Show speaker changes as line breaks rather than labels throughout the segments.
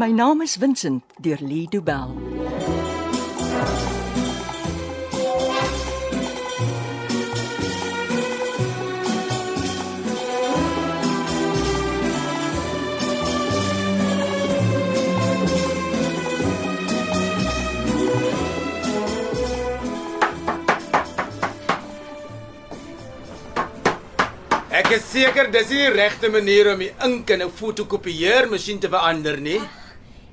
My naam is Vincent deur Lee Du Bell.
Ek is seker dis nie die regte manier om die ink in 'n fotokopieermasjien te verander nie.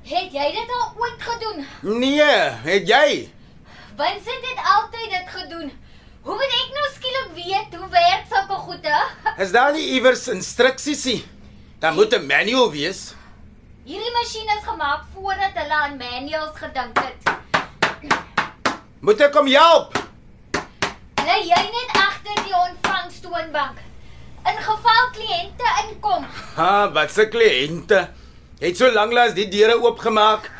Het jy dit al ooit gedoen?
Nee, het jy?
Vincent het altyd dit gedoen. Hoe moet ek nou skielik weet hoe werk sulke goede?
Is daar nie iewers instruksies nie? Daar moet 'n manual wees.
Hierdie masjien is gemaak voordat hulle aan manuals gedink het.
Moet ek hom help?
Bly jy net agter die ontvangstoonbank. In geval kliënte inkom,
Ha, wat se kliënte. Het so lanklaas die deure oopgemaak.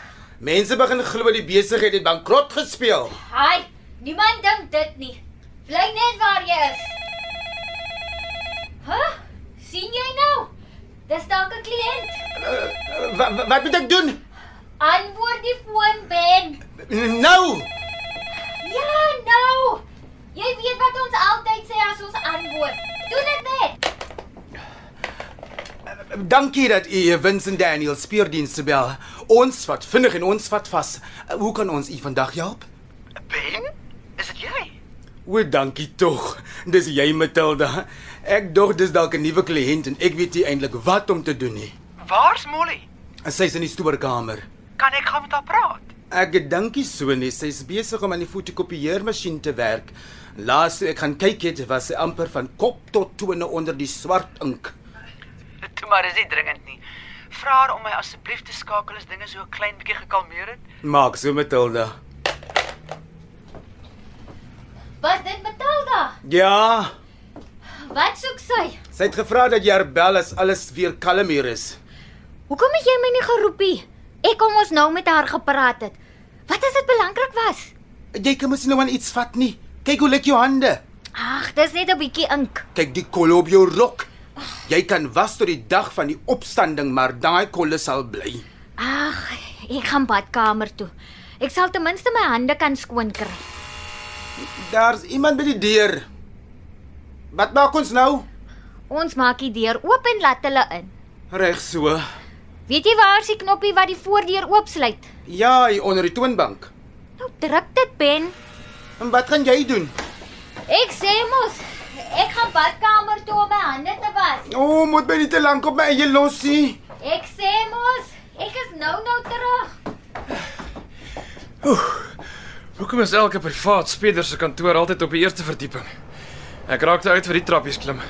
Mense begin glo die besigheid het bankrot gespeel.
hi, niemand dink dit nie. Bly net waar jy is. Huh? sien jy nou? Dis dalk 'n kliënt.
Wat wat moet ek doen?
Antwoord die foon, Ben.
Nou.
Ja, nou. Jy weet wat ons altyd sê as ons antwoord. Doen dit net.
Dankie dat u Vincent Daniel speurdienste bel. Ons vat vinnig en ons vat vas. Eh, Hoe kan ons u vandag help?
Ben? Is dit jy?
O, dankie tog. Dis jy Matilda. Ek dog dis dalk 'n nuwe kliënt en ek weet nie eintlik wat om te doen nie.
Waar's Molly?
Sy's in die stoorkamer.
Kan ek gaan met haar praat?
Ek dankie so nie. Sy's besig om aan die fotokopieermasjien te werk. Laas toe ek gaan kyk het, was sy amper van kop tot tone onder die swart ink.
Toe maar is dit dringend nie. Vra haar om my asseblief te skakel as dinge so 'n klein bietjie gekalmeer het.
Maak so Matilda.
Was dit Matilda?
Ja,
Wat soek sy?
sy het gevra dat jy haar bel as alles weer kalm hier is.
Hoekom het jy my nie geroep nie? Ek kom ons nou met haar gepraat het. Wat as dit belangrik was?
Jy kan mos nie nou aan iets vat nie. Kyk hoe lyk jou hande.
Ag, dis net 'n bietjie ink.
Kyk die kolle op jou rok. Jy kan was tot die dag van die opstanding, maar daai kolle sal bly.
Ag, ek gaan badkamer toe. Ek sal ten minste my hande kan skoon kry.
Daar's iemand by die deur. Wat maak ons nou?
Ons maak die deur oop en laat hulle in.
Reg so.
Weet jy waar is die knoppie wat die voordeur oopsluit?
Ja, hier onder die toonbank.
Nou druk dit, Ben.
En wat gaan jy doen?
Ek sê mos, ek gaan badkamer toe om my hande te was.
O, oh, moet my nie te lank op my eie losie.
Ek sê mos, ek is nou nou terug.
Hoekom is elke privaat speler se kantoor altyd op die eerste verdieping? Ek raakte uit vir die trappies klim.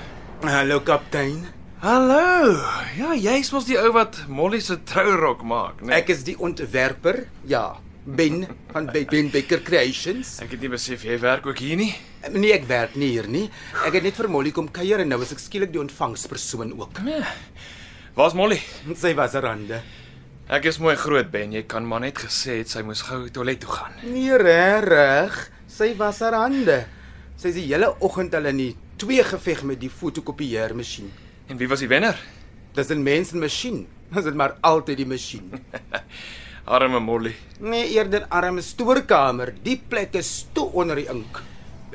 Hallo kaptein.
Hallo. Ja, jy's mos die ou wat Molly se trourok maak, né?
Ek is die ontwerper. Ja, Ben van Be- Ben Becker Creations.
ek het nie besef jy werk ook hier nie.
Nee, ek werk nie hier nie. Ek het net vir Molly kom kuier en nou is ek skielik die ontvangspersoon ook.
Nee. Waar's Molly?
Sy was rande.
Ek is mooi groot Ben, jy kan maar net gesê het sy moes gou toilet toe gaan.
Nee, regtig. Sy was haar hande. Sy is die hele oggend al in die twee geveg met die fotokopieermasjien.
En wie was die wenner?
Dis 'n mens en masjien. Dis dit maar altyd die masjien.
Arme Molly.
Nee, eerder arme stoorkamer. Die plek is toe onder die ink.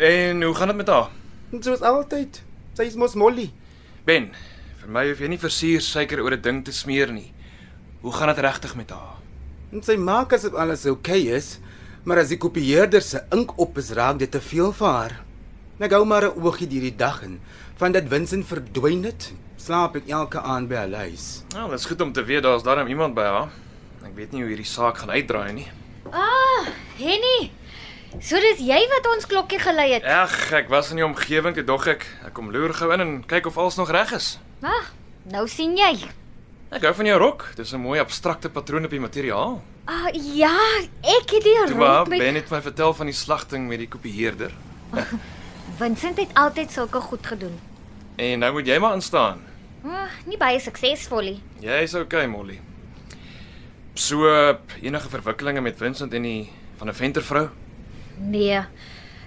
En hoe gaan dit met haar?
En Soos altyd. Sy is mos Molly.
Ben, vir my hoef jy nie versuur suiker oor 'n ding te smeer nie. Hoe gaan dit regtig met haar?
En sy maak asof alles oukei okay is, maar as die kopieerder se ink op is, raak dit te veel vir haar. En Ek hou maar 'n oogie hierdie dag in. Van dat Vincent verdwyn het, slaap ek elke aand by haar huis.
Nou, dit is goed om te weet daar's darm iemand by haar. Ek weet nie hoe hierdie saak gaan uitdraai nie.
Ah, Henny. So dis jy wat ons klokkie gelei het.
Ag, ek was in die omgewing toe dog ek. Ek kom loer gou in en kyk of alles nog reg is.
Wag, nou sien jy.
Ek hou van jou rok. Dis 'n mooi abstrakte patroon op die materiaal.
Ah, ja, ek het hier
Toe waar
rond met
Ben het my vertel van die slagting met die kopieerder.
Vincent het altyd sulke goed gedoen.
En nou moet jy maar instaan.
Ah, nie baie suksesvol nie.
Jy's okay, Molly. So eh, enige verwikkelinge met Vincent en die van 'n ventervrou?
Nee.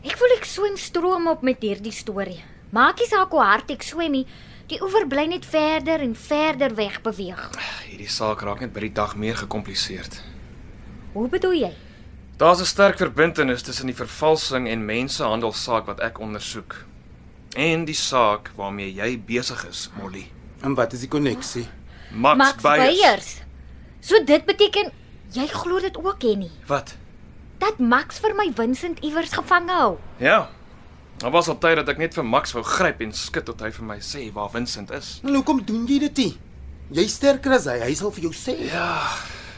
Ek voel ek swem stroom op met hierdie storie. Maakie saak hoe hard ek swem nie, Die oewer bly net verder en verder weg beweeg.
Hierdie saak raak net by die dag meer gekompliseerd.
Hoe bedoel jy?
Daar's 'n sterk verbintenis tussen die vervalsing en mensehandelsaak wat ek ondersoek en die saak waarmee jy besig is, Molly.
En wat is die koneksie?
Max,
Max
Beyers.
Beyers. So dit beteken jy glo dit ook hè nie
Wat?
dat Max vir my Vincent iewers gevange hou.
Ja. Daar was al tyd dat ek net vir Max wou gryp en skud tot hy vir my sê waar Vincent is.
Nou hoekom doen jy dit nie? Jy's sterker as hy. Hy sal vir jou sê.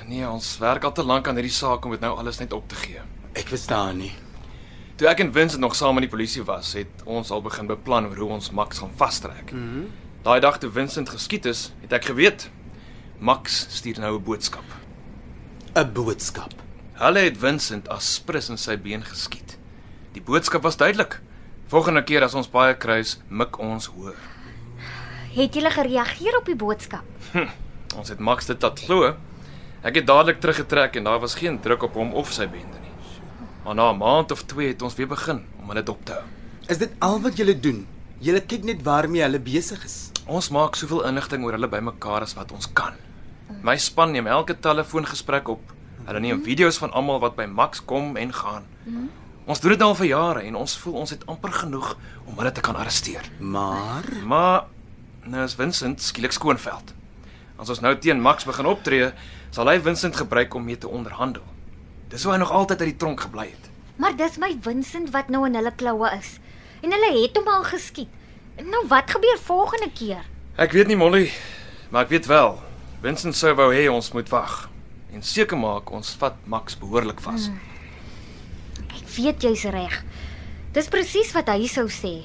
Nee, ons werk al te lank aan hierdie saak om dit nou alles net op te gee.
Ek verstaan nie.
Toe ek en Vincent nog saam in die polisie was, het ons al begin beplan oor hoe ons Max gaan vastrek. Mm -hmm. Daai dag toe Vincent geskiet is, het ek geweet Max stuur nou 'n boodskap.
'n Boodskap.
Hulle het Vincent as sprus in sy been geskiet. Die boodskap was duidelik. Volgende keer as ons baie kruis, mik ons hoor.
Het jy gereageer op die boodskap?
Ons het Max dit laat glo. Ek het dadelik teruggetrek en daar was geen druk op hom of sy bende nie. Maar na 'n maand of 2 het ons weer begin om hulle dop te hou.
Is dit al wat jy doen? Jy kyk net waarmee hulle besig is.
Ons maak soveel inligting oor hulle bymekaar as wat ons kan. My span neem elke telefoongesprek op. Hulle neem video's van almal wat by Max kom en gaan. Ons doen dit nou al vir jare en ons voel ons het amper genoeg om hulle te kan arresteer.
Maar
Maar nou is Vincent skielik skoonveld. As ons nou teen Max begin optree, sal hy Vincent gebruik om mee te onderhandel. Dis hoe hy nog altyd uit die tronk gebly het.
Maar dis my Vincent wat nou in hulle kloue is. En hulle het hom al geskiet. Nou wat gebeur volgende keer?
Ek weet nie Molly, maar ek weet wel. Vincent sou wou hê ons moet wag en seker maak ons vat Max behoorlik vas. Mm.
Ek weet jy's reg. Dis presies wat hy sou sê.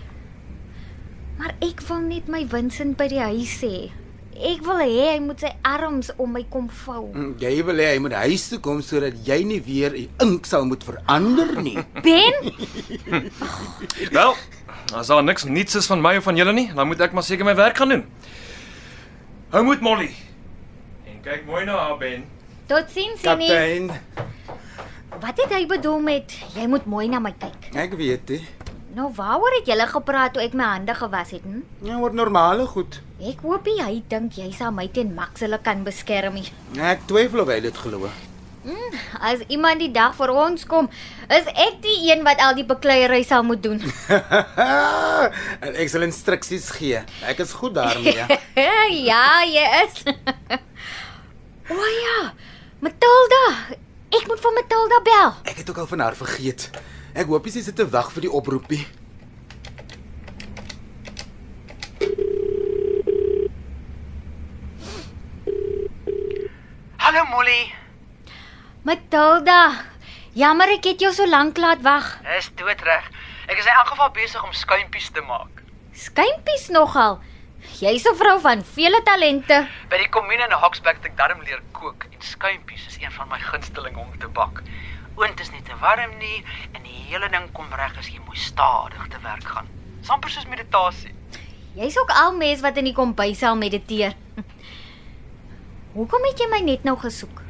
Maar ek wil net my Vincent by die huis hê. Ek wil hê hy moet sy arms om my kom vou.
mm, jy wil hê hy moet huis toe kom sodat jy nie weer die ink sou moet verander nie.
Ben,
Wel, as daar niks niets is van my of van julle nie, dan moet ek maar seker my werk gaan doen. Hou moed Molly. En kyk mooi na haar Ben.
totsiens Jenny.
Kaptein,
Wat het hy bedoel met jy moet mooi na my kyk?
ek weet dit.
Nou waaroor het julle gepraat toe ek my hande gewas het? Hm?
Ja, oor normale goed.
Ek hoop nie hy dink jy sal my teen Max hulle kan beskerm nie.
Ek twyfel of hy dit glo.
Mm, As iemand die dag vir ons kom, is ek die een wat al die bekleierery sal moet doen.
en ek sal instruksies gee. Ek is goed daarmee.
ja, jy is. o ja, Matilda. Ek moet vir Matilda bel.
Ek het ook al van haar vergeet. Ek hoop sy sit te wag vir die oproepie.
Hallo Molly.
Matilda. Jammer ek het jou so lank laat wag.
Dis doodreg. Ek is in elk geval besig om skuimpies te maak.
Skynpies nogal. Jy's 'n vrou van vele talente.
By die kommune in Hogsback het ek darm leer kook en skuimpies is een van my gunstelinge om te bak. Oond is nie te warm nie en die hele ding kom reg as jy mooi stadig te werk gaan. Samper soos meditasie.
Jy's ook al mens wat in die kombuis sal mediteer. Hoekom het jy my net nou gesoek?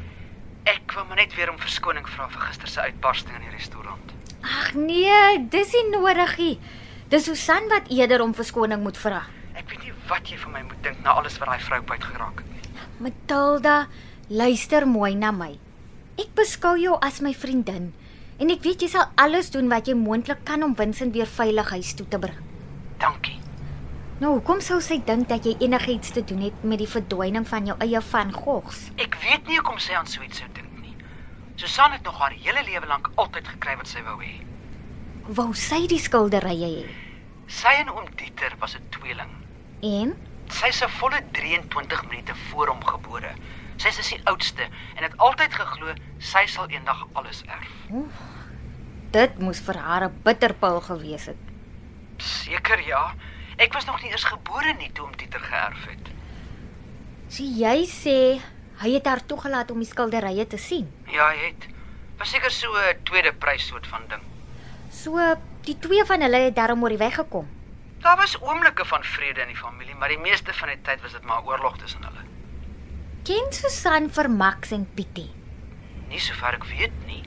Ek wou maar net weer om verskoning vra vir gister se uitbarsting in die restaurant.
Ag nee, dis nie nodig nie. Dis Susan wat eerder om verskoning moet vra.
Ek weet nie wat jy van my moet dink na alles wat daai vrou byt geraak het nie.
Matilda, luister mooi na my. Ek beskou jou as my vriendin en ek weet jy sal alles doen wat jy moontlik kan om Vincent weer veilig huis toe te bring.
Dankie.
Nou, hoekom sou sy dink dat jy enigiets te doen het met die verdwyning van jou eie van Gogs?
Ek weet nie hoekom sy aan so iets sou dink nie. Susan het nog haar hele lewe lank altyd gekry wat sy wou hê.
Wou sy die skilderye hê?
Sy en oom Dieter was 'n tweeling.
En
Sy's 'n volle 23 minute voor hom gebore. Sy's is die oudste en het altyd geglo sy sal eendag alles erf.
dit moes vir haar 'n bitterpil gewees het.
Seker ja. Ek was nog nie eers gebore nie toe om Dieter geërf het.
So jy sê hy het haar toegelaat om die skilderye te sien.
Ja, hy het. Was seker so 'n tweede prys soort van ding.
So die twee van hulle het daarom oor die weg gekom.
Daar was oomblikke van vrede in die familie, maar die meeste van die tyd was dit maar oorlog tussen hulle.
Ken Susan vir Max en Pietie?
Nie sover ek weet nie.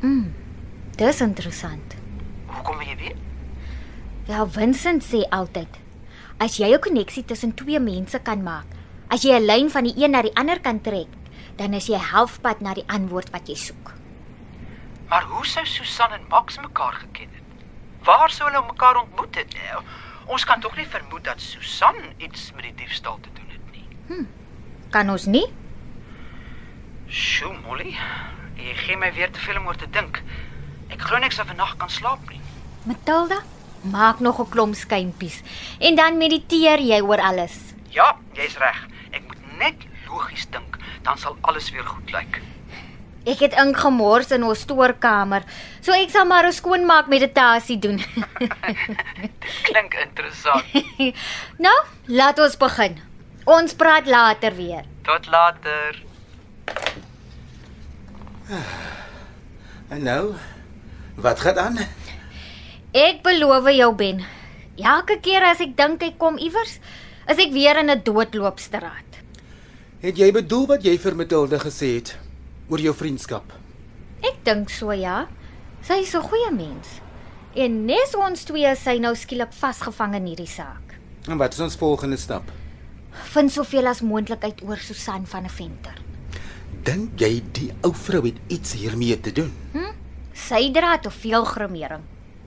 Mm. Dis interessant.
Hoekom wil jy weet?
Ja, Vincent sê altyd As jy 'n koneksie tussen twee mense kan maak, as jy 'n lyn van die een na die ander kan trek, dan is jy halfpad na die antwoord wat jy soek.
Maar hoe sou Susan en Max mekaar geken het? Waar sou hulle mekaar ontmoet het? Eh, Ons kan tog nie vermoed dat Susan iets met die diefstal te doen het nie.
Kan ons nie?
Sjoe, Molly. Jy gee my weer te veel om oor te dink. Ek glo niks of vannag kan slaap nie.
Matilda, maak nog 'n klomp skynpies en dan mediteer jy oor alles.
Ja, jy's reg. Ek moet net logies dink, dan sal alles weer goed lyk.
Ek het ingemors in ons stoorkamer, so ek sal maar 'n skoonmaak meditasie doen.
Klink interessant.
nou, laat ons begin. Ons praat later weer.
Tot later.
En nou, wat gaan aan?
Ek beloof jou Ben. Elke keer as ek dink ek kom iewers, is ek weer in 'n doodloopstraat.
Het jy bedoel wat jy vir Matilda gesê het oor jou vriendskap?
Ek dink so ja. Sy is 'n goeie mens. En nes ons twee is sy nou skielik vasgevang in hierdie saak.
En wat is ons volgende stap?
Vind soveel as moontlik uit oor Susan van 'n venter.
Dink jy die ou vrou het iets hiermee te doen?
Sy dra te veel grimering.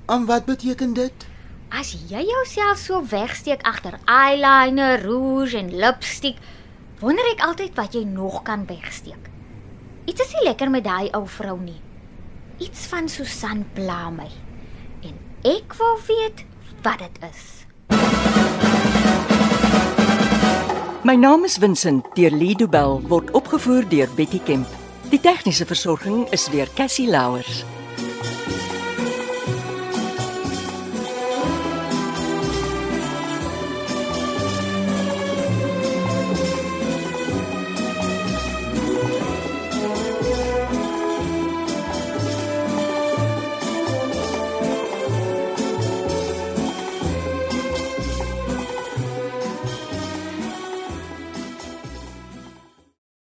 En wat beteken dit?
As jy jouself so wegsteek agter eyeliner, rouge en lipstiek, wonder ek altyd wat jy nog kan wegsteek. Iets is nie lekker met daai ou vrou nie. Iets van Susan pla my. En ek wil weet wat dit is.
My naam is Vincent deur Lido Bell word opgevoer deur Betty Kemp. Die tegniese versorging is deur Cassie Louers.